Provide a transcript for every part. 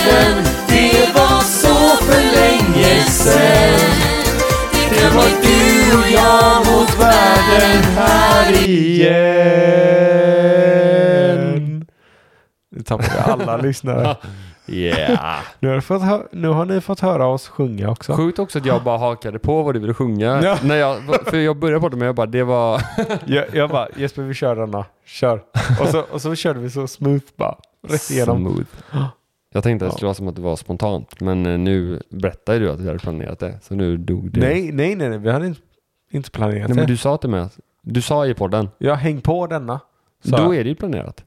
sen Det var så för länge sen Det kan vara du och jag mot världen här igen. Nu tappade vi alla lyssnare. Yeah. Nu har, du fått hö- nu har ni fått höra oss sjunga också. Sjukt också att jag bara hakade på vad du ville sjunga. Ja. När jag, för jag började på det men jag bara, det var... Jag, jag bara, Jesper vi kör denna. Kör. Och så, och så körde vi så smooth bara. Rätt igenom. Smooth. Jag tänkte att det Ja. skulle vara som att det var spontant, men eh, nu berättar ju du att vi hade planerat det, så nu dog det. Nej, nej, nej, nej. Vi hade inte, inte Nej planerat men det. du sa till mig att, du sa i podden, Jag häng på denna. sa då jag. är det ju planerat.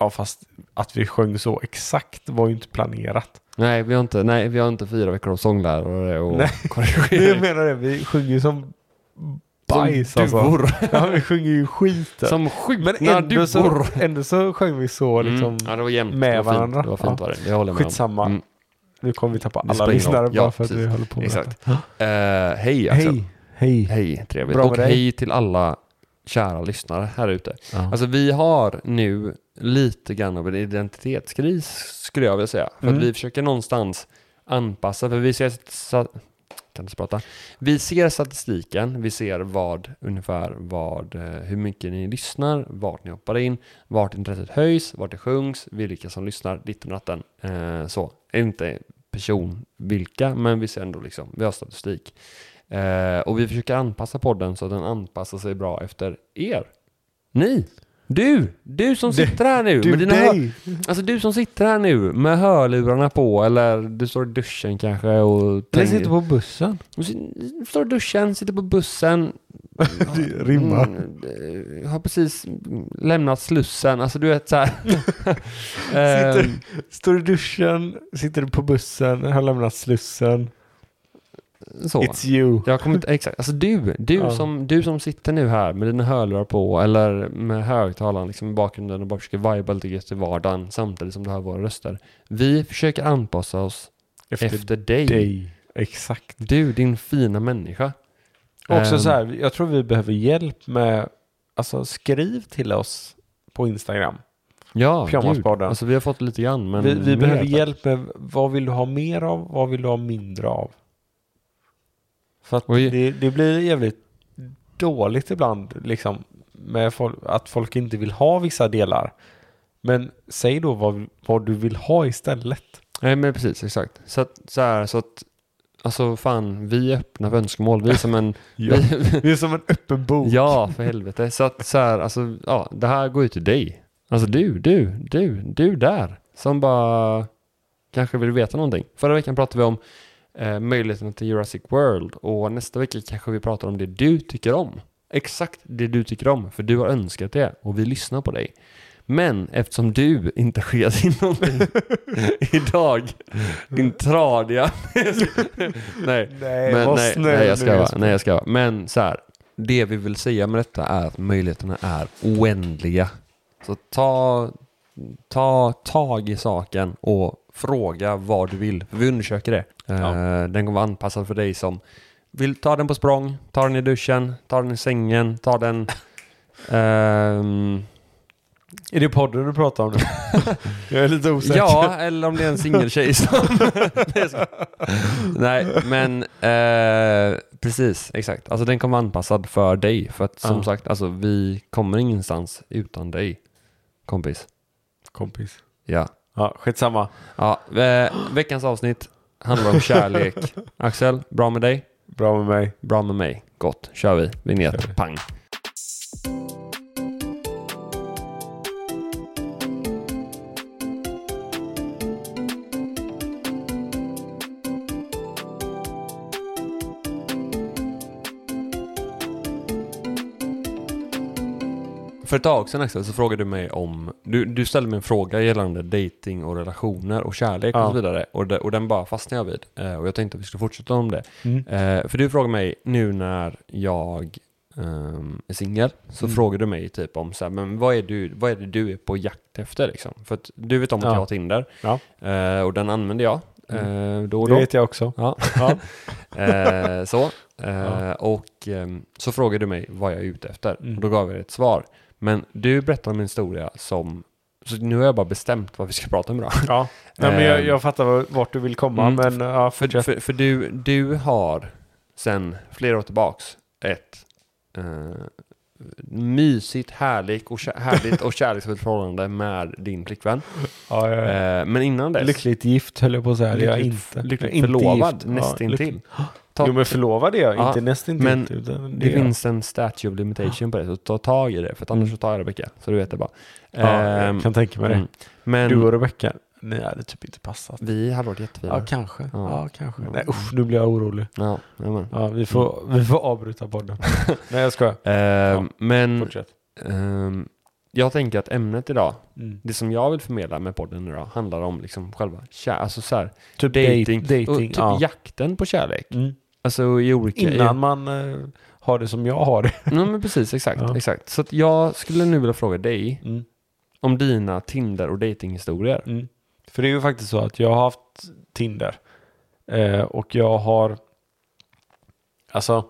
Ja, fast att vi sjöng så exakt var ju inte planerat. Nej, vi har inte, nej, vi har inte fyra veckor av sånglärare och Nej. Jag korrigering. menar det, vi sjunger ju som bajs som alltså. duvor. Ja, vi sjunger ju skit. Som Men skjutna ändå så, duvor. ändå så sjöng vi så liksom. Mm. Ja, det var jämnt. med det var varandra. Fint. Det var fint Ja. var det. Det håller jag med om. Skitsamma. Mm, Nu kommer vi tappa Det alla spelar ingen lyssnare roll. bara Ja, för att precis. vi håller på med Exakt. detta. Eh, hej Axel. Hej, hej. Hej, trevligt. Bra med och dig. hej till alla kära lyssnare här ute. Ja. Alltså vi har nu lite grann av en identitetskris skulle jag vilja säga. För Mm. att vi försöker någonstans anpassa, för vi ser, sa- kan inte prata. Vi ser statistiken, vi ser vad, ungefär vad, eh, hur mycket ni lyssnar, vart ni hoppar in, vart intresset höjs, vart det sjungs, vilka som lyssnar, ditt och natten. Eh, så, inte person vilka, men vi ser ändå liksom, vi har statistik. Eh, och vi försöker anpassa podden så att den anpassar sig bra efter er. Ni! Du! Du som sitter här nu! Du, med dina hör- dig. alltså du som sitter här nu med hörlurarna på eller du står i duschen kanske och... Eller tänker- sitter på bussen. Du sit- står i duschen, sitter på bussen. Det rimmar. Mm, eh, har precis lämnat Slussen. Alltså du vet så här. Eh, Sitter- Ehm, Står i duschen, sitter på bussen, har lämnat Slussen. så. It's you. Jag kommer inte, exakt, alltså du, du, Ja. som, du som sitter nu här med dina hörlurar på eller med högtalaren liksom i bakgrunden och bara försöker viba lite gött i vardagen samtidigt som du hör våra röster. Vi försöker anpassa oss efter, dig. dig. Exakt. Du, din fina människa. Också Ehm, så här, jag tror vi behöver hjälp med, alltså skriv till oss på Instagram. Ehm, Ja, gud. pyjamaspodden. Alltså vi har fått lite grann men vi vi mer. behöver hjälp med, vad vill du ha mer av, vad vill du ha mindre av? För att Oj. det, det blir jävligt dåligt ibland liksom med folk, att folk inte vill ha vissa delar. Men säg då vad, vad du vill ha istället. Nej men precis, exakt. Så att, så här, så att Alltså fan, vi är öppna för önskemål. Vi är som en... vi, Det är som en öppen bok. Ja, för helvete. Så att så här, alltså, ja, det här går ju till dig. Alltså du, du, du, du där. Som bara kanske vill veta någonting. Förra veckan pratade vi om eh, möjligheterna till Jurassic World och nästa vecka kanske vi pratar om det du tycker om. Exakt det du tycker om, för du har önskat det och vi lyssnar på dig. Men eftersom du inte sket in någonting idag, din tradiga... Nej, Nej, men, var nej, snäll nej, jag nu, ska vara, Jesper. nej, jag ska vara. Men så här, det vi vill säga med detta är att möjligheterna är oändliga. Så ta, ta tag i saken och fråga vad du vill. Vi undersöker det. Ja. Eh, Den kommer vara anpassad för dig som vill ta den på språng, ta den i duschen, ta den i sängen, ta den... ehm, Är det podden du pratar om nu? jag är lite osäker. Ja, eller om det är en singeltjej som... Nej, jag skojar. Nej, men eh, precis, exakt. Alltså den kommer vara anpassad för dig. För att som Ja. sagt, alltså vi kommer ingenstans utan dig, kompis. Kompis. Ja. Ja, skitsamma. ja eh, veckans avsnitt handlar om kärlek. Axel, bra med dig? Bra med mig. Bra med mig. Gott, kör vi. Vinjett, pang. För ett tag sedan Axel så frågade du mig om, du, du ställde mig en fråga gällande dating och relationer och kärlek Ja. och så vidare. Och, det, och den bara fastnade jag vid. Eh, och jag tänkte att vi skulle fortsätta om det. Mm. Eh, för du frågar mig nu när jag ehm, är singel, så Mm. frågar du mig typ om så här, men vad är, du, vad är det du är på jakt efter liksom? För att du vet om att Ja. jag har Tinder Ja. Mm. eh, och den använder jag eh, då och Det då. vet jag också. Ja. Ja. eh, så. Eh, Ja. Och ehm, så frågade du mig vad jag är ute efter. Mm. Och då gav jag dig ett svar. Men du berättade om en historia som, Så nu har jag bara bestämt vad vi ska prata om idag. Ja. Nej, men jag, Ehm. jag fattar vad- vart du vill komma, Mm. men ja, För, fortsätt. för, för du, du har sen flera år tillbaks ett eh, mysigt, härligt och, kär- härligt och kärleksfullt förhållande med din flickvän. ja, ja, ja. Eh, men innan dess, Lyckligt gift höll jag på att säga. jag är inte. lyckligt inte förlovad gift. nästintill. lyckligt. Jo, men förlovad är jag. Ja, inte nästintill. men utan Det är jag. finns en statue of limitation på det, så ta tag i det, för att annars så tar jag Rebecka. Så du vet det bara. Ja, jag Ehm, kan tänka mig det. mm. Men Du och Rebecka, ni hade typ inte passat. vi hade varit Ja, jättefina. kanske. Ja. Ja, kanske. Ja. Nej, usch, nu blir jag orolig. Ja, jajamän. Ja, vi får, Mm. vi får avbryta podden. Nej, jag skojar. Ehm, men Fortsätt. ehm, jag tänker att ämnet idag Mm. det som jag vill förmedla med podden idag handlar om liksom själva kär, alltså så här, Typ dating, dating. och typ ja. jakten på kärlek. Mm. Alltså i olika... Innan man eh, har det som jag har det. I, no, men precis, exakt. Ja. exakt. Så att jag skulle nu vilja fråga dig Mm. om dina Tinder och datinghistorier. Mm. För det är ju faktiskt så att jag har haft Tinder. Eh, och jag har... Alltså,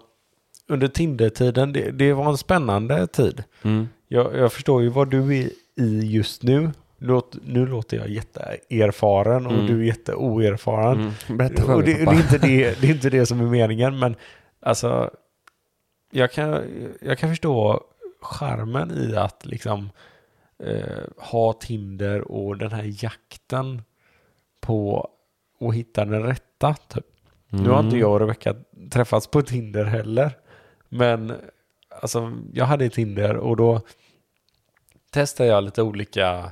under Tinder-tiden, det, det var en spännande tid. Mm. Jag, jag förstår ju vad du är i just nu. Låt, nu låter jag jätteerfaren och Mm. du är jätteoerfaren. Mm. Berätta för Och det, mig, det, pappa. är inte det, det är inte det som är meningen, men alltså, jag kan, jag kan förstå charmen i att liksom eh, ha Tinder och den här jakten på att hitta den rätta. Typ. Mm. Nu har inte jag och Rebecca träffats på Tinder heller, men alltså, jag hade Tinder och då testade jag lite olika,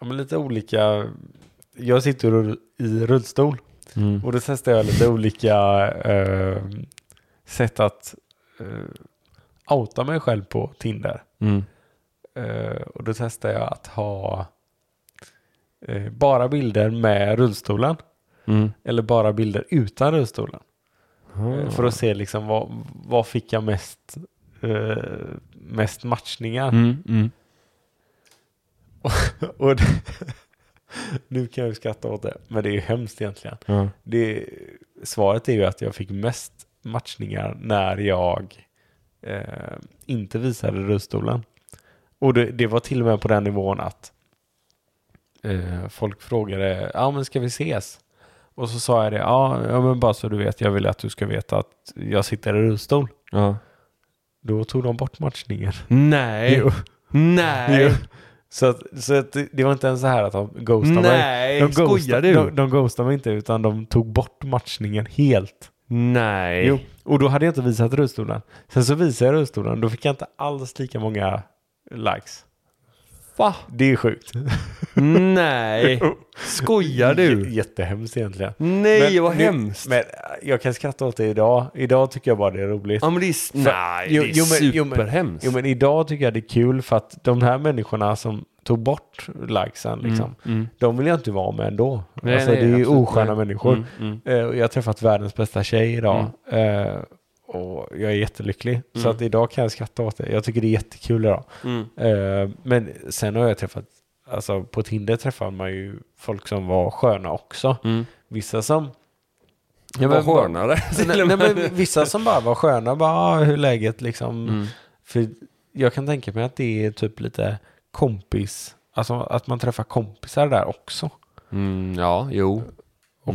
ja, men lite olika, jag sitter ur- i rullstol. Mm. Och då testade jag lite olika eh, sätt att eh, outa mig själv på Tinder. Mm. Eh, och då testade jag att ha eh, bara bilder med rullstolen. Mm. Eller bara bilder utan rullstolen. Eh, Ah. För att se liksom vad, vad fick jag mest, eh, mest matchningar. Mm. Mm. Och det, nu kan jag ju skratta åt det, men det är ju hemskt egentligen. Ja. Det, svaret är ju att jag fick mest matchningar när jag eh, inte visade rullstolen. Och det, det var till och med på den nivån att eh, folk frågade, ja men ska vi ses? Och så sa jag det, ja, ja men bara så du vet, jag vill att du ska veta att jag sitter i rullstol. Ja. Då tog de bort matchningen. Nej. Jo. Nej. Så, att, så att det- det var inte ens så här att de ghostade mig. Nej. De Skojar ghostade, du? de, de ghostade mig inte utan de tog bort matchningen helt. Nej. Jo, och då hade jag inte visat rullstolen. Sen så visade jag rullstolen, då fick jag inte alls lika många likes. Va? Det är sjukt. Nej. Skojar J- du? Jättehemskt egentligen. Nej, Men vad nu- hemskt. Men äh, jag kan skratta åt det idag. Idag tycker jag bara det är roligt. Ja men det är, s- nej, jo- det är jo, men- jo, men- superhemskt. Mm, Jo men idag tycker jag det är kul för att de här människorna som tog bort likesen, liksom, Mm. de vill jag inte vara med ändå. Nej, alltså nej, det är ju absolut, osköna nej. människor. Mm, mm. Eh, och Jag har träffat världens bästa tjej idag. Eh, Och jag är jättelycklig. Så Mm. att idag kan jag skratta åt det. Jag tycker det är jättekul idag. Mm. Eh, men sen har jag träffat, alltså på Tinder träffar man ju folk som var sköna också. Mm. Vissa som... Jag var men- skönare. Nej, nej, men vissa som bara var sköna, bara ah, hur är läget liksom. Mm. För jag kan tänka mig att det är typ lite kompis, alltså att man träffar kompisar där också. Mm, ja, jo. Mm.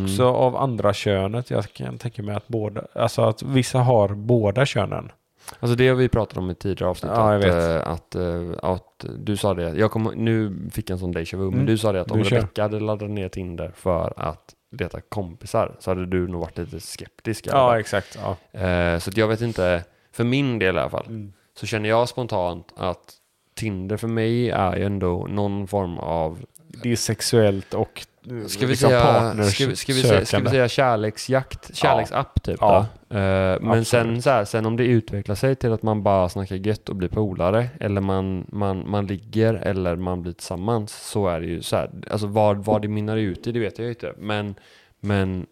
Också av andra könet. Jag kan tänka mig att båda, alltså att vissa har båda könen. Alltså det har vi pratat om i tidigare avsnitt. Ja, jag att, vet. eh, att, eh, att du sa det, jag kommer, nu fick jag en sån deja vu, men Mm. du sa det att om Du kör. Rebecka hade laddat ner Tinder för att leta kompisar så hade du nog varit lite skeptisk. i alla Ja, fall. exakt. Ja. Eh, så att jag vet inte, för min del i alla fall, Mm. så känner jag spontant att Tinder för mig är ju ändå någon form av Det är sexuellt och eh, Ska vi, liksom säga, partners- ska, vi- ska, vi säga, ska vi sökande. säga kärleksjakt, kärleksapp typ? Ja. Ja. men Absolut. sen, så här, sen om det utvecklar sig till att man bara snackar gött och blir polare eller man, man, man ligger eller man blir tillsammans så är det ju så här. Alltså vad, vad det mynnar ut i det vet jag ju inte. Men, men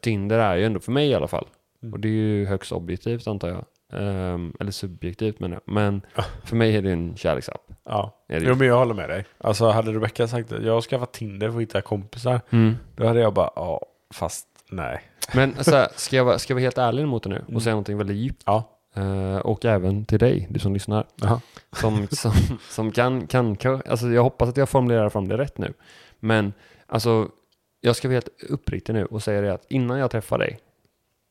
Tinder är ju ändå för mig i alla fall. Mm. Och det är ju högst objektivt antar jag. Ehm, eller subjektivt menar jag. Men för mig är det ju en kärleksapp. Ja, Är det ju. jo, men jag håller med dig. Alltså hade Rebecca sagt att jag har skaffat Tinder för att hitta kompisar, Mm. då hade jag bara, ja, fast nej. Men så här, ska, jag, vara- ska jag vara helt ärlig mot dig nu och Mm. säga någonting väldigt djupt? Ja. Eh, och även till dig, du som lyssnar. Jaha. som, som, som kan, kan, kan, alltså jag hoppas att jag formulerar fram det rätt nu. Men alltså, jag ska vara helt uppriktig nu och säga det att innan jag träffade dig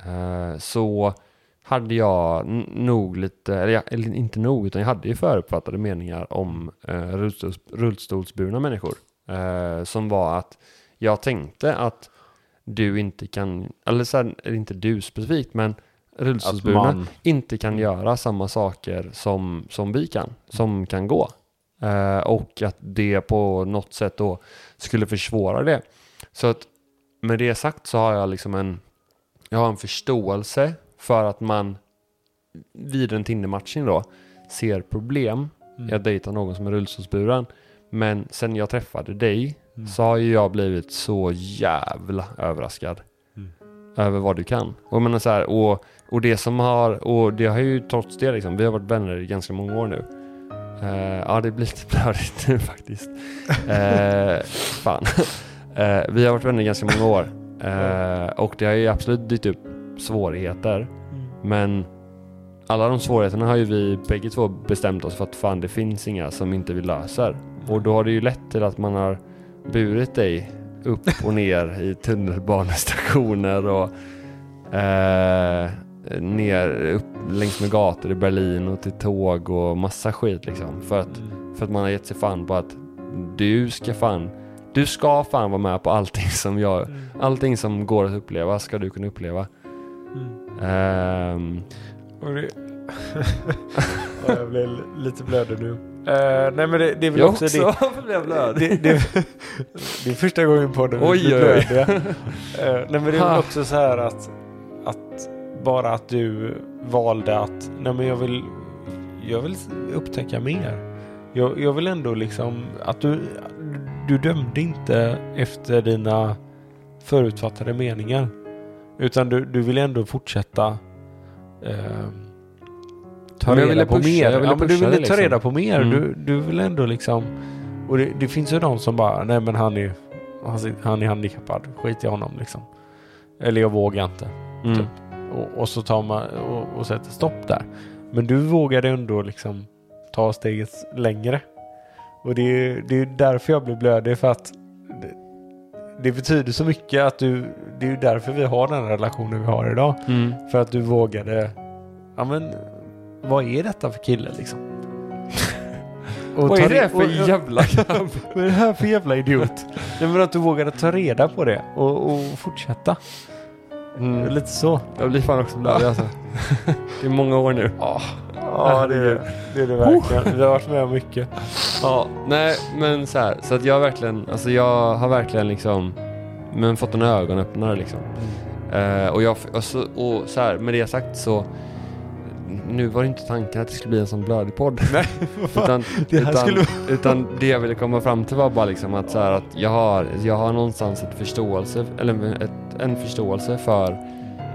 eh, så hade jag n- nog lite, eller, jag, eller inte nog, utan jag hade ju förutfattade meningar om eh, rullstols, rullstolsburna människor. Eh, som var att jag tänkte att du inte kan, eller så här, eller inte du specifikt, men Att rullstolsburna man, inte kan göra samma saker som, som vi kan, som kan gå. Eh, och att det på något sätt då skulle försvåra det. Så att med det sagt så har jag liksom en, jag har en förståelse för att man vid en Tinder-matchning då ser problem Mm. jag dejtar någon som är rullstolsburen. Men sen jag träffade dig Mm. så har ju jag blivit så jävla överraskad. Mm. Över vad du kan. Och, jag menar så här, och, och det som har, och det har ju trots det liksom, vi har varit vänner i ganska många år nu. Eh, ja, det blir lite blödigt nu faktiskt. Eh, fan. Eh, vi har varit vänner i ganska många år. Eh, och det har ju absolut dykt upp svårigheter. Men alla de svårigheterna har ju vi bägge två bestämt oss för att fan det finns inga som inte vi löser. Och då har det ju lett till att man har burit dig upp och ner i tunnelbanestationer och eh, ner upp längs med gator i Berlin och till tåg och massa skit liksom. För att, Mm. för att man har gett sig fan på att du ska fan, du ska fan vara med på allting som jag, allting som går att uppleva ska du kunna uppleva. Mm. Ehm, Och det... Ja, jag blev lite blödig nu. Eh, nej men det, det är väl också, det. blev Det, det, det är första gången på det Oj, vi blir oj, oj. blödiga. Eh, nej men det är Ha. väl också så här att, att bara att du valde att nej men jag vill, jag vill upptäcka mer. Jag, jag vill ändå liksom att du, du dömde inte efter dina förutfattade meningar. Utan du, du vill ändå fortsätta eh, ta Men jag ville reda på pusha, mer. jag ville ja, men du pusha ville det ta liksom. reda på mer. Mm. Du, du vill ändå liksom... Och det, det finns ju de som bara, nej men han är, han, sit- han är handikappad, skit i honom liksom. Eller jag vågar inte. Mm. Och, och så tar man och, och sätter stopp där. Men du vågade ändå liksom ta steget längre. Och det är ju det är ju därför jag blir blödig för att det, det betyder så mycket att du, det är ju därför vi har den relationen vi har idag. Mm. För att du vågade, ja men vad är detta för kille liksom? Och Vad ta är det re- för och- jävla grabb? vad är det här för jävla idiot? Nej men att du vågade ta reda på det och, och fortsätta. Eh, Mm. Lite så. Jag blir fan också blödig alltså. Det är många år nu. Ja, det, det är det verkligen. Vi har varit med om mycket. Ja, nej men så här, så att jag verkligen, alltså jag har verkligen liksom, men fått en ögonöppnare liksom. Eh, och jag, och så, och så här, med det sagt så, nu var det inte tanken att det skulle bli en sån blödig podd. Nej, Utan, Det här utan, skulle- utan det jag ville komma fram till var bara liksom att, så här, att jag, har, jag har någonstans ett förståelse, eller ett, en förståelse för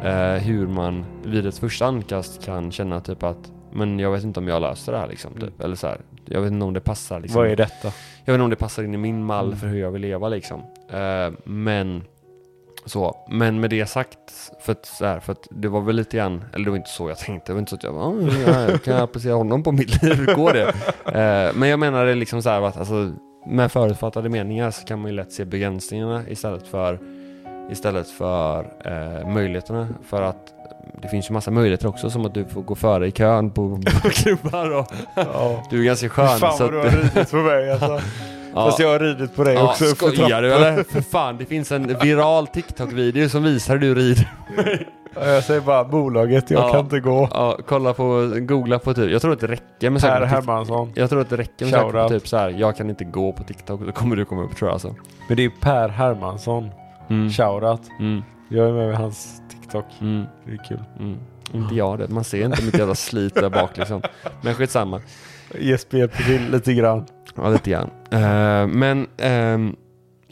eh, hur man vid ett första ankast kan känna typ att men jag vet inte om jag löser det här liksom. Typ. Eller så här, jag vet inte om det passar liksom. Mm. Vad är detta? Jag vet inte om det passar in i min mall Mm. för hur jag vill leva liksom. Eh, men så, men med det sagt, för att, så här, för att det var väl lite grann, eller det var inte så jag tänkte, det var inte så att jag bara, "Åh, ja, kan jag applicera honom på mitt liv, hur går det? Eh, men jag menar det liksom så här att alltså, med förutfattade meningar så kan man ju lätt se begränsningarna istället för, istället för eh, möjligheterna. För att det finns ju massa möjligheter också, som att du får gå före i kön på klubbar och Ja. du är ganska skön. Fan så vad att- du har ridit på mig alltså. Ja. Fast jag har ridit på dig Ja, också. uppför skojar du trappan. eller? För fan, det finns en viral TikTok-video som visar hur du rider. Ja, Jag säger bara bolaget, jag Ja. kan inte gå. Ja, kolla på, googla på typ, jag tror att det räcker med Per sökning på TikTok. Hermansson. Jag tror att det räcker med sökning på Shoutout. typ så här. jag kan inte gå på TikTok, då kommer du komma upp tror jag alltså. Men det är Per Hermansson. Mm. Shoutout. Mm. Jag är med i hans TikTok. Mm. Det är kul. Mm. Inte jag det, man ser inte mitt jävla slit där bak liksom. Men skitsamma. Jesper hjälper till lite grann. Ja, lite grann. Eh, men, ehm,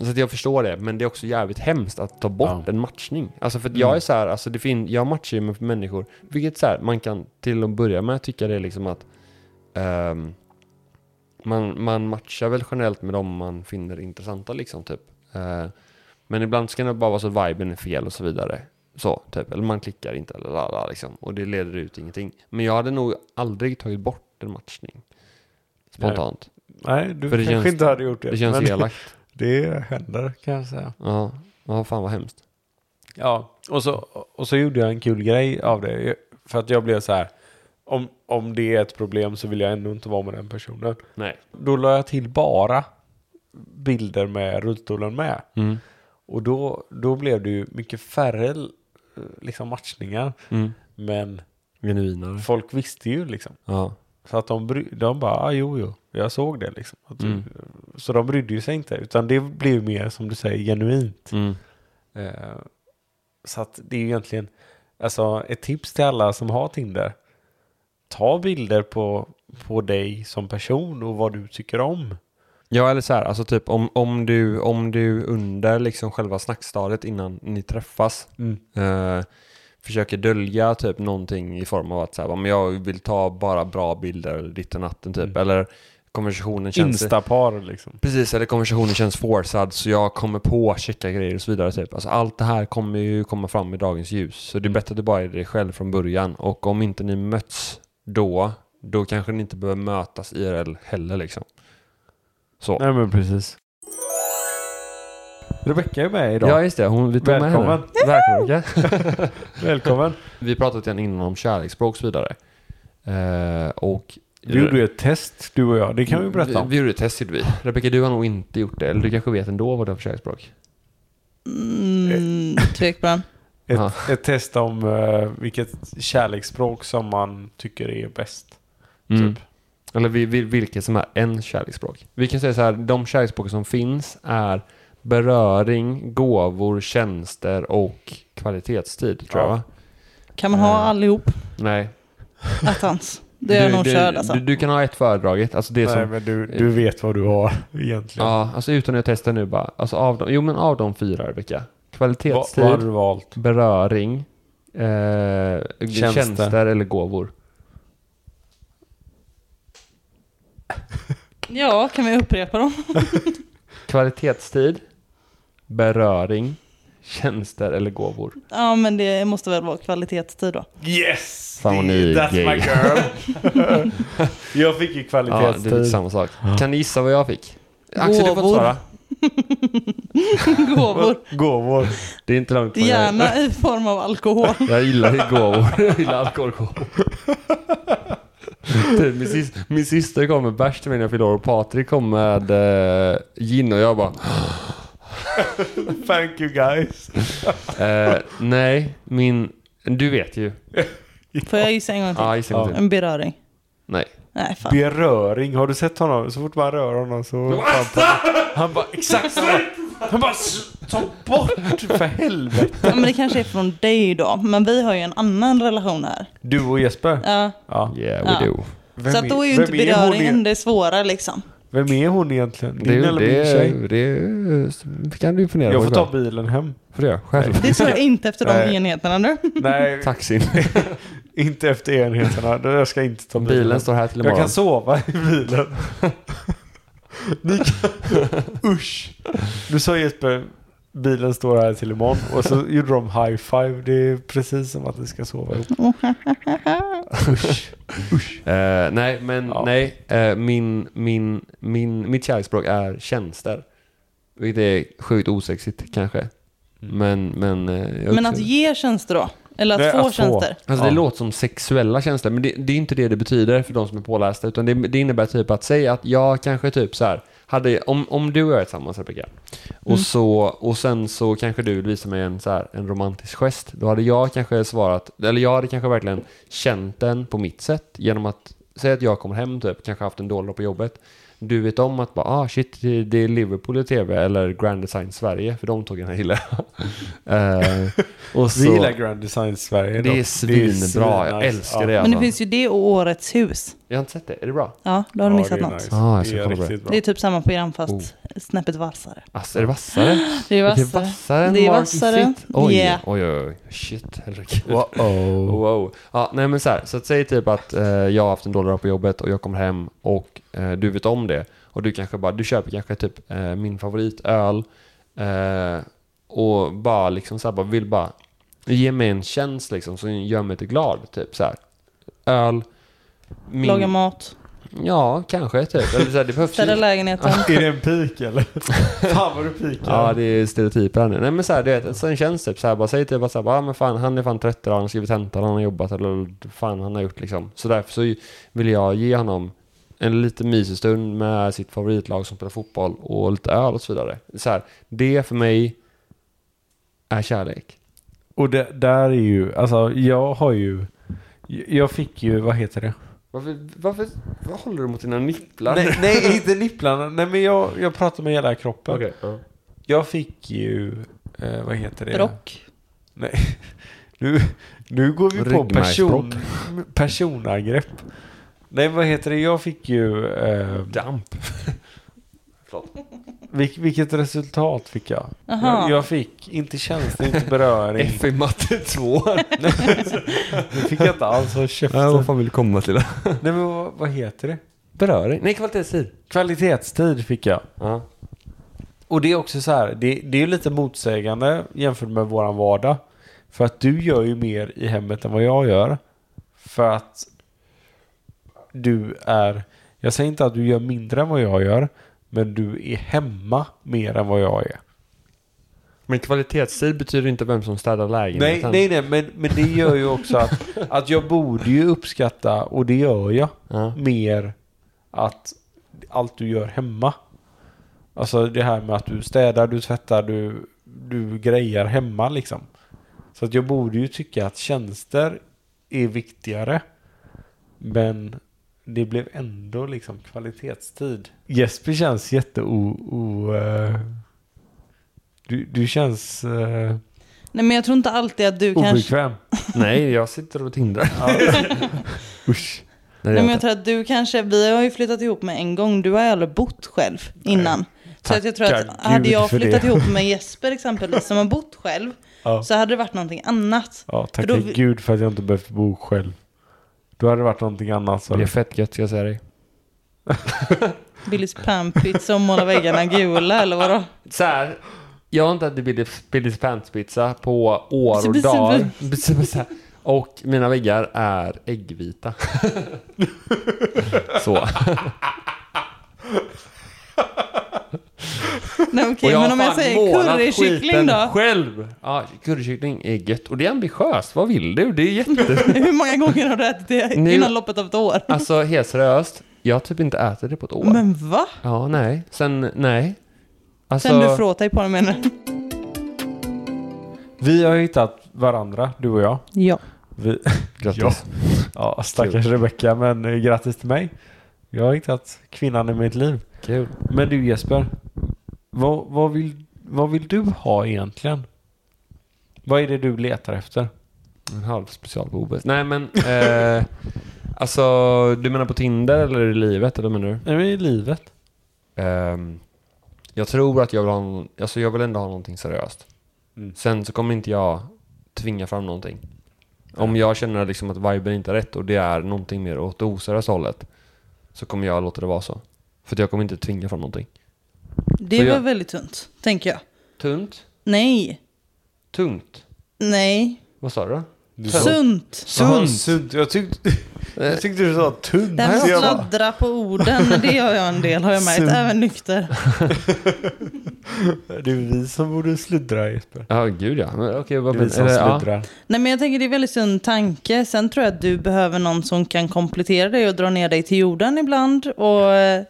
så att jag förstår det, men det är också jävligt hemskt att ta bort Ja. en matchning. Alltså för att Mm. jag är så här, alltså det fin- jag matchar ju med människor, vilket så här, man kan till att börja med tycka det är liksom att ehm, man, man matchar väl generellt med dem man finner intressanta liksom typ. Eh, men ibland så kan det bara vara så att viben är fel och så vidare. Så, typ. Eller man klickar inte eller la, la, liksom. Och det leder ut ingenting. Men jag hade nog aldrig tagit bort en matchning. spontant. Nej, du För det kanske känns- inte hade gjort det. Det känns men elakt. Det händer kan jag säga. Ja, ja fan vad hemskt. Ja, och så, och så gjorde jag en kul grej av det. För att jag blev så här, om, om det är ett problem så vill jag ändå inte vara med den personen. Nej. Då la jag till bara bilder med rullstolen med. Mm. Och då, då blev det ju mycket färre eh, liksom, matchningar. Mm. Men Genuinare. folk visste ju liksom. Ja. Så att de, bry, de bara, ah, jo, jo, jag såg det liksom. Att du, Mm. Så de brydde ju sig inte, utan det blev ju mer som du säger genuint. Mm. Eh, så att det är ju egentligen, alltså ett tips till alla som har Tinder. Ta bilder på, på dig som person och vad du tycker om. Ja, eller så här, alltså typ om, om, du, om du under liksom själva snackstadiet innan ni träffas Mm, eh, försöker dölja typ någonting i form av att så här, "Ja, men jag vill ta bara bra bilder ditt och natten typ, Mm. eller konversationen känns... Instapar liksom. Precis, eller konversationen känns forcead så jag kommer på checka grejer och så vidare. Typ. Alltså, allt det här kommer ju komma fram i dagens ljus. Så Mm. det är bättre att du bara är dig själv från början. Och om inte ni möts då, då kanske ni inte behöver mötas IRL heller liksom. Så. Nej men precis. Rebecka är med idag. Ja, just det. Hon, vi tog med henne. Välkommen. Välkommen. Rebecka. Välkommen. Vi pratade lite grann innan om kärleksspråk och så vidare. Eh, och Mm, Vi gjorde ju ett test, du och jag. Det kan Mm, vi berätta om. Vi, vi gjorde ett test, gjorde vi. Rebecka, du har nog inte gjort det. Eller du kanske vet ändå vad det är för kärleksspråk? Mm, Tvekbra. Ett, Ja. ett test om eh, vilket kärleksspråk som man tycker är bäst. Mm. Typ. Eller vi, vi, vilket som är en kärleksspråk. Vi kan säga så här, de kärleksspråk som finns är beröring, gåvor, tjänster och kvalitetstid, tror jag. Ja. va? Kan man ha Eh. allihop? Nej. Attans. Det är Du- jag nog du, körd alltså. du, du kan ha ett föredraget, alltså det Nej, som men du, du vet vad du har egentligen. Ja, alltså utan att testa nu bara. Alltså av de, jo men av de fyra Rebecka. vad, vad har Kvalitetstid, du valt? beröring, eh, Tjänster. tjänster. eller gåvor. Ja, kan vi upprepa dem? Kvalitetstid, beröring, tjänster eller gåvor. Ja, men det måste väl vara kvalitetstid då. Yes! Fan, vad ni är That's gay. my girl! jag fick ju Ja, det är lite kvalitetstid. samma sak. Kan ni gissa vad jag fick? Axel, du får inte Gåvor. svara. Gåvor. Gåvor. Det är inte långt från jag. Gärna i form av alkohol. Jag gillar ju gåvor. Jag gillar alkoholgåvor. Typ, min, sys- min syster kom med bärs till mig när jag fyllde år och Patrik kom med eh, gin och jag bara Thank you guys. Eh, nej, min... Du vet ju. Får jag gissa en gång Ja, till? gissa inte. En beröring. Nej. Nej, fan. Beröring. Har du sett honom? Så fort man rör honom så... Han bara exakt samma. Han bara "S- ta bort för helvete. Ja, men det kanske är från dig då. Men vi har ju en annan relation här. Du och Jesper? Ja. Ja. Yeah, we Ja. do. Vem så att då är ju vem inte hon beröringen e- det svåra liksom. Vem är hon egentligen? Din Det, eller min tjej? det, det, det kan du ju fundera Jag på får själv. ta bilen hem. Får du göra själv. Det tror jag inte efter de Nej. enheterna nu. Nej, Taxin. inte efter enheterna. Då- Jag ska inte ta bilen. Bilen står här till jag imorgon. kan sova i bilen. Ni kan... Usch. Du sa Jesper, bilen står här till imorgon. Och så gjorde de high five. Det är precis som att ni ska sova ihop. Eh, nej, men Ja. nej. eh, min, min, min, mitt kärleksspråk är tjänster. Vilket är sjukt osexigt kanske. Mm. Men, men... eh, jag Men att uppskattar- ge tjänster då? Eller att Nej, få att få. tjänster? Alltså det Ja. låter som sexuella känslor, men det, det är inte det det betyder för de som är pålästa, utan det, det innebär typ att säga att jag kanske typ så här, hade, om, om du och jag är tillsammans Rebecka, och, Mm. så, och sen så kanske du vill visa mig en, så här, en romantisk gest, då hade jag kanske svarat, eller jag hade kanske verkligen känt den på mitt sätt genom att säga att jag kommer hem typ, kanske haft en dålig dag på jobbet, du vet om att bara, ah shit, det det är Liverpool i tv eller Grand Design Sverige, för de tog den här gillar jag. Eh, och Vi så- gillar Grand Design Sverige. det dock. är svinbra, jag svinnice. älskar Ja. det Men alltså. det finns ju det och Årets hus. Jag har inte sett det, är det bra? Ja, då har du Ja, missat det är något. nice. Ah, jag det ska är kolla på det. riktigt bra. Det är typ samma program fast Oh. snäppet vassare. Alltså är det vassare? Det är det är vassare. vassare än Det är Mark vassare. Isitt? Oj, Yeah. oj, oj, oj, shit, herregud. Wow. Wow. Ja, nej men så här, så att säg typ att eh, jag har haft en dålig dag på jobbet och jag kommer hem och eh, du vet om det och du kanske bara, du köper kanske typ eh, min favoritöl eh, och bara liksom så här, bara vill bara ge mig en tjänst liksom som gör mig till glad, typ så här. Öl, min, Laga mat. Ja, kanske typ. Eller så här, det behövs Städa ju... lägenheten. Är det en pik eller? Fan vad du pikar. Ja, det är stereotyper här nu. Nej men så här, du vet, sen känns det typ så här, bara säg typ att så här, bara, ah, men fan, han är fan 30 han har skrivit tentan, han har jobbat eller fan han har gjort liksom. Så därför så vill jag ge honom en liten mysig stund med sitt favoritlag som spelar fotboll och lite öl och så vidare. Så här, det för mig är kärlek. Och det, där är ju, alltså jag har ju, jag fick ju, vad heter det? Varför, varför vad håller du mot dina nipplar? Nej, nej inte nipplarna, nej men jag, jag pratar med hela kroppen. Okej, ja. Jag fick ju, eh, vad heter det? Brock. Nej. Nu, nu går vi på person, personangrepp. Nej, vad heter det? Jag fick ju... Eh, Damp. Förlåt. vilk, vilket resultat fick jag? Aha. jag? Jag fick inte känsla, inte beröring. F i matte 2. Det fick jag inte alls ha käften. Vad fan vill du komma till? Nej, men vad, vad heter det? Beröring? Nej, kvalitetstid. Kvalitetstid fick jag. Ja. Och det är också så här, det, det är ju lite motsägande jämfört med våran vardag. För att du gör ju mer i hemmet än vad jag gör. För att du är, jag säger inte att du gör mindre än vad jag gör, men du är hemma mer än vad jag är. Men kvalitetstid betyder inte vem som städar Nej, lägenheten. nej, nej, men, men det gör ju också att, att jag borde ju uppskatta, och det gör jag, Ja. mer att allt du gör hemma. Alltså det här med att du städar, du tvättar, du, du grejer hemma liksom. Så att jag borde ju tycka att tjänster är viktigare. Men det blev ändå liksom kvalitetstid. Jesper känns jätte o... o eh, du, du känns eh, Nej men jag tror inte alltid att du kanske... obekväm. nej, jag sitter och tindrar. Usch. Nej, jag Nej, men jag tror att du kanske, vi har ju flyttat ihop med en gång, du har ju aldrig bott själv innan. Så att jag tror Tackar att hade Gud jag för det. flyttat ihop med Jesper exempelvis, som har bott själv, Ja. så hade det varit någonting annat. Ja, tack För då- gud för att jag inte behövt bo själv. Då hade det varit någonting annat. tror- Så. Det är fett gött ska jag säga dig. Billys pampits som målar väggarna gula eller vadå? Så här, jag har inte ätit Billys- Billys pantspizza på år och Bisse, dagar. Bisse, bisse. Och mina väggar är äggvita. Så. Nej Och okej, men om jag fan säger målat currykyckling skiten då? Själv! Ja, currykyckling är gött. Och det är ambitiöst. Vad vill du? Det är jätte... Hur många gånger har du ätit det Nu- innan loppet av ett år? Alltså, helt seriöst. Jag har typ inte ätit det på ett år. Men va? Ja, nej. Sen, nej. Alltså, Sen du fråtade på den menar du? Vi har hittat varandra, du och jag. Ja. Vi, Grattis. ja, stackars Rebecka, men eh, grattis till mig. Jag har hittat kvinnan i mitt liv. Kul. Men du Jesper, vad, vad, vill, vad vill du ha egentligen? Vad är det du letar efter? En halv special på OBS. Nej, men... Eh, alltså, du menar på Tinder eller i livet? Eller vad menar du? Nej, men I livet? Ehm, jag tror att jag vill ha någon, alltså jag vill ändå ha någonting seriöst. Mm. Sen så kommer inte jag tvinga fram någonting. Om jag känner liksom att viben inte är rätt och det är någonting mer åt det oseriösa hållet så kommer jag låta det vara så. För att jag kommer inte tvinga fram någonting. Det Så var jag- väldigt tunt, tänker jag. Tunt? Nej. Tungt? Nej. Vad sa du? då? Du sa- Sunt. Jaha, Sunt. sunt. Jag tyckte, jag tyckte du sa tunt. Det här med Så jag att bara- sladdra på orden, det gör jag en del har jag märkt, Sunt. även nykter. Det är vi som borde sluddra Jesper. Ja, gud ja. Men, okej, vad Det är vi men, som eller, ja. sluddrar. Nej men jag tänker det är väldigt sund tanke, sen tror jag att du behöver någon som kan komplettera dig och dra ner dig till jorden ibland och eh,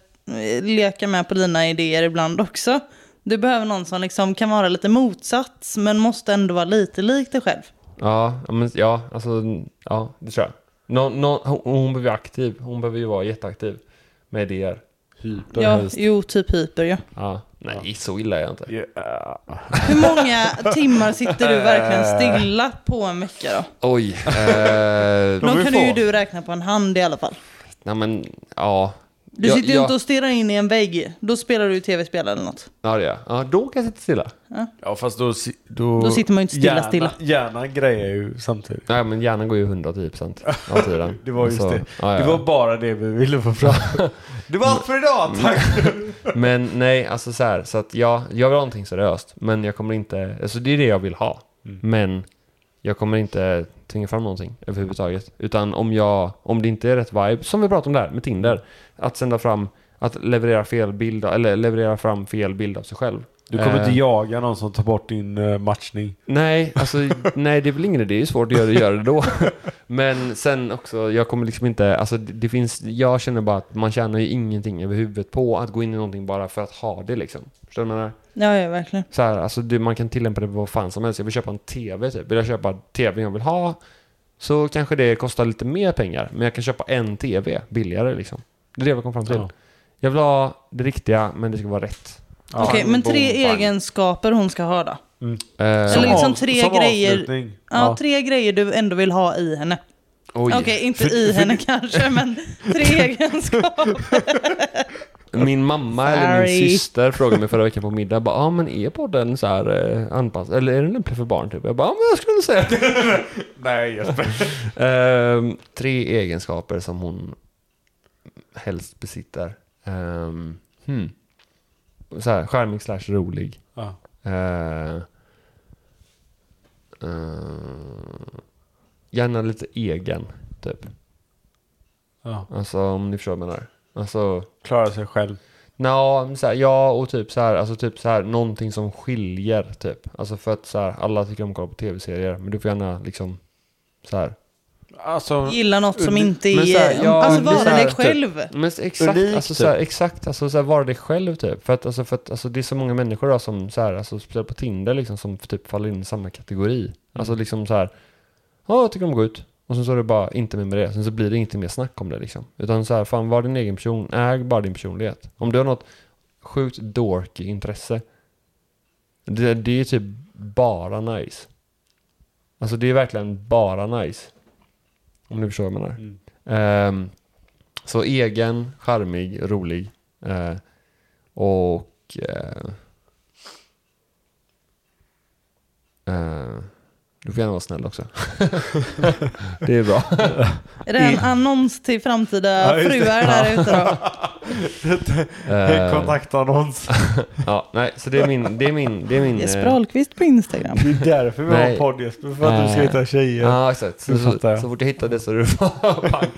leka med på dina idéer ibland också. Du behöver någon som liksom kan vara lite motsats men måste ändå vara lite lik dig själv. Ja, ja, men, ja, alltså, ja, det tror jag. Nå, nå, hon, hon behöver vara aktiv. Hon behöver ju vara jätteaktiv med idéer. Ja, jo, typ hyper ja. Ja. Nej, så illa är jag inte. Ja. Hur många timmar sitter du verkligen stilla på en vecka då? Oj. Eh, De De är kan få. ju du räkna på en hand i alla fall. nej men, ja. Du Ja, sitter ju ja, inte och stirrar in i en vägg. Då spelar du ju tv-spel eller något. Ja, det gör jag. ja, då kan jag sitta stilla. Ja fast då, si- då... Då sitter man ju inte stilla, hjärnan, stilla. Hjärnan grejer ju samtidigt. Nej, men hjärnan går ju 110% av tiden. Det var just Så, det. Ja, ja. Det var bara det vi ville få fram. Det var allt för idag, tack! Men nej, alltså så här, så att ja, jag vill ha Mm. någonting seriöst, men jag kommer inte, alltså det är det jag vill ha. Men jag kommer inte tvinga fram någonting överhuvudtaget. Utan om, jag, om det inte är rätt vibe, som vi pratade om där med Tinder, att sända fram, att leverera fel bild, eller leverera fram fel bild av sig själv. Du kommer Eh, inte jaga någon som tar bort din eh, matchning. Nej, alltså, nej, det är väl ingen idé. Det är ju svårt att göra, göra det då. Men sen också, jag kommer liksom inte, alltså det, det finns, jag känner bara att man tjänar ju ingenting över huvudet på att gå in i någonting bara för att ha det liksom. Förstår du vad jag menar? Ja, ja, verkligen. Så här, alltså det, man kan tillämpa det på vad fan som helst. Jag vill köpa en TV typ. Vill jag köpa TVn jag vill ha så kanske det kostar lite mer pengar. Men jag kan köpa en TV billigare liksom. Det är det vi kom fram till. Ja. Jag vill ha det riktiga men det ska vara rätt. Ja. Okej, men tre Bang, bang. egenskaper hon ska ha då? Eh, Eller liksom av- tre som grejer- avslutning. Ja, tre grejer du ändå vill ha i henne. oj. Okej, inte i henne kanske, men tre egenskaper. Min mamma eller min Sorry. syster frågade mig förra veckan på middag. Ja ah, men är podden så här eh, anpassad? Eller är den lämplig för barn typ? Jag bara, ah, men jag skulle inte säga det. Nej, Jesper. Ehm, tre egenskaper som hon helst besitter. Um, hmm. Så här, charmig slash rolig. Ja. Eh, eh, gärna lite egen, typ. Ja. Alltså om ni förstår vad jag menar. Alltså, Klara sig själv. Nå, men så här, ja och typ så här, alltså typ så här, någonting som skiljer typ. Alltså för att så här, alla tycker om att kolla på tv-serier, men du får gärna liksom så här. Alltså, Gilla något som Unik- inte men så här, är... ja, alltså men vara så här, dig typ. själv. Men s- exakt, Unik, typ. alltså, så här, exakt, alltså så här, vara dig själv typ. För att, alltså, för att alltså, det är så många människor då, som så här, alltså speciellt på Tinder liksom, som typ faller in i samma kategori. Mm. Alltså liksom så här, ja jag tycker om att gå ut. Och sen så är det bara inte mer med det. Sen så blir det inte mer snack om det liksom. Utan så här, fan var din egen person, äg bara din personlighet. Om du har något sjukt dorky intresse. Det, det är typ bara nice. Alltså det är verkligen bara nice. Om du förstår vad jag menar. Mm. Ehm, så egen, charmig, rolig. eh, och... eh, eh, du får gärna vara snäll också. det är bra. Är det en annons till framtida Ja, just det. fruar där ute då? Eh, kontaktannons. ja, nej, så det är min... Det är min... Det är min Jesper eh, Ahlqvist på Instagram. Det är därför vi har Nej. en podd Jesper, för att du ska Eh, hitta tjejer. Ja, exakt. Så, Nu så, fattar jag. så fort jag hittade det så är det bara pang.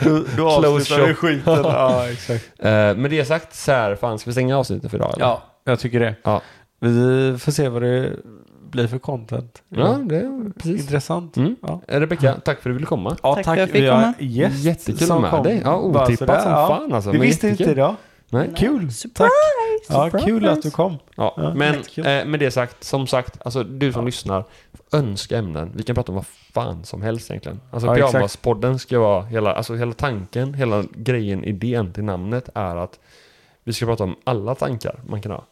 Du, du avslutar shop. ju skiten. ja, exakt. Eh, med det sagt, så här, fan, ska vi stänga avsnittet för idag? Eller? Ja, jag tycker det. Ja. Vi får se vad det blir för content. ja, det är precis. Intressant. Mm. Ja. Eh, Rebecka, tack för att du ville komma. Ja, tack, Tack för att jag fick Vi har komma. en gäst Jättekul som med kom. dig. Ja, Bara sådär, otippat som ja. fan alltså. Det men visste inte jättekul. idag. Nej. Kul! Surprise! Ja, kul att du kom. Ja, Ja, men jättekul. eh, med det sagt, som sagt, alltså du som lyssnar, önska ämnen. Vi kan prata om vad fan som helst egentligen. Alltså Ja, exakt. Pyjamaspodden ska vara, hela, alltså hela tanken, hela grejen, idén till namnet är att vi ska prata om alla tankar man kan ha.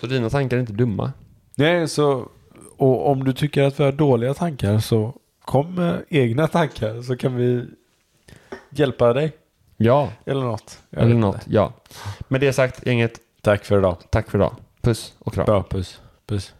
Så dina tankar är inte dumma. Nej, så, och om du tycker att vi har dåliga tankar så kom med egna tankar så kan vi hjälpa dig. Ja, Eller något. Jag eller vet något. inte. Ja. Med det sagt, gänget, Tack för idag. tack för idag. Puss och kram. Bra, puss. Puss.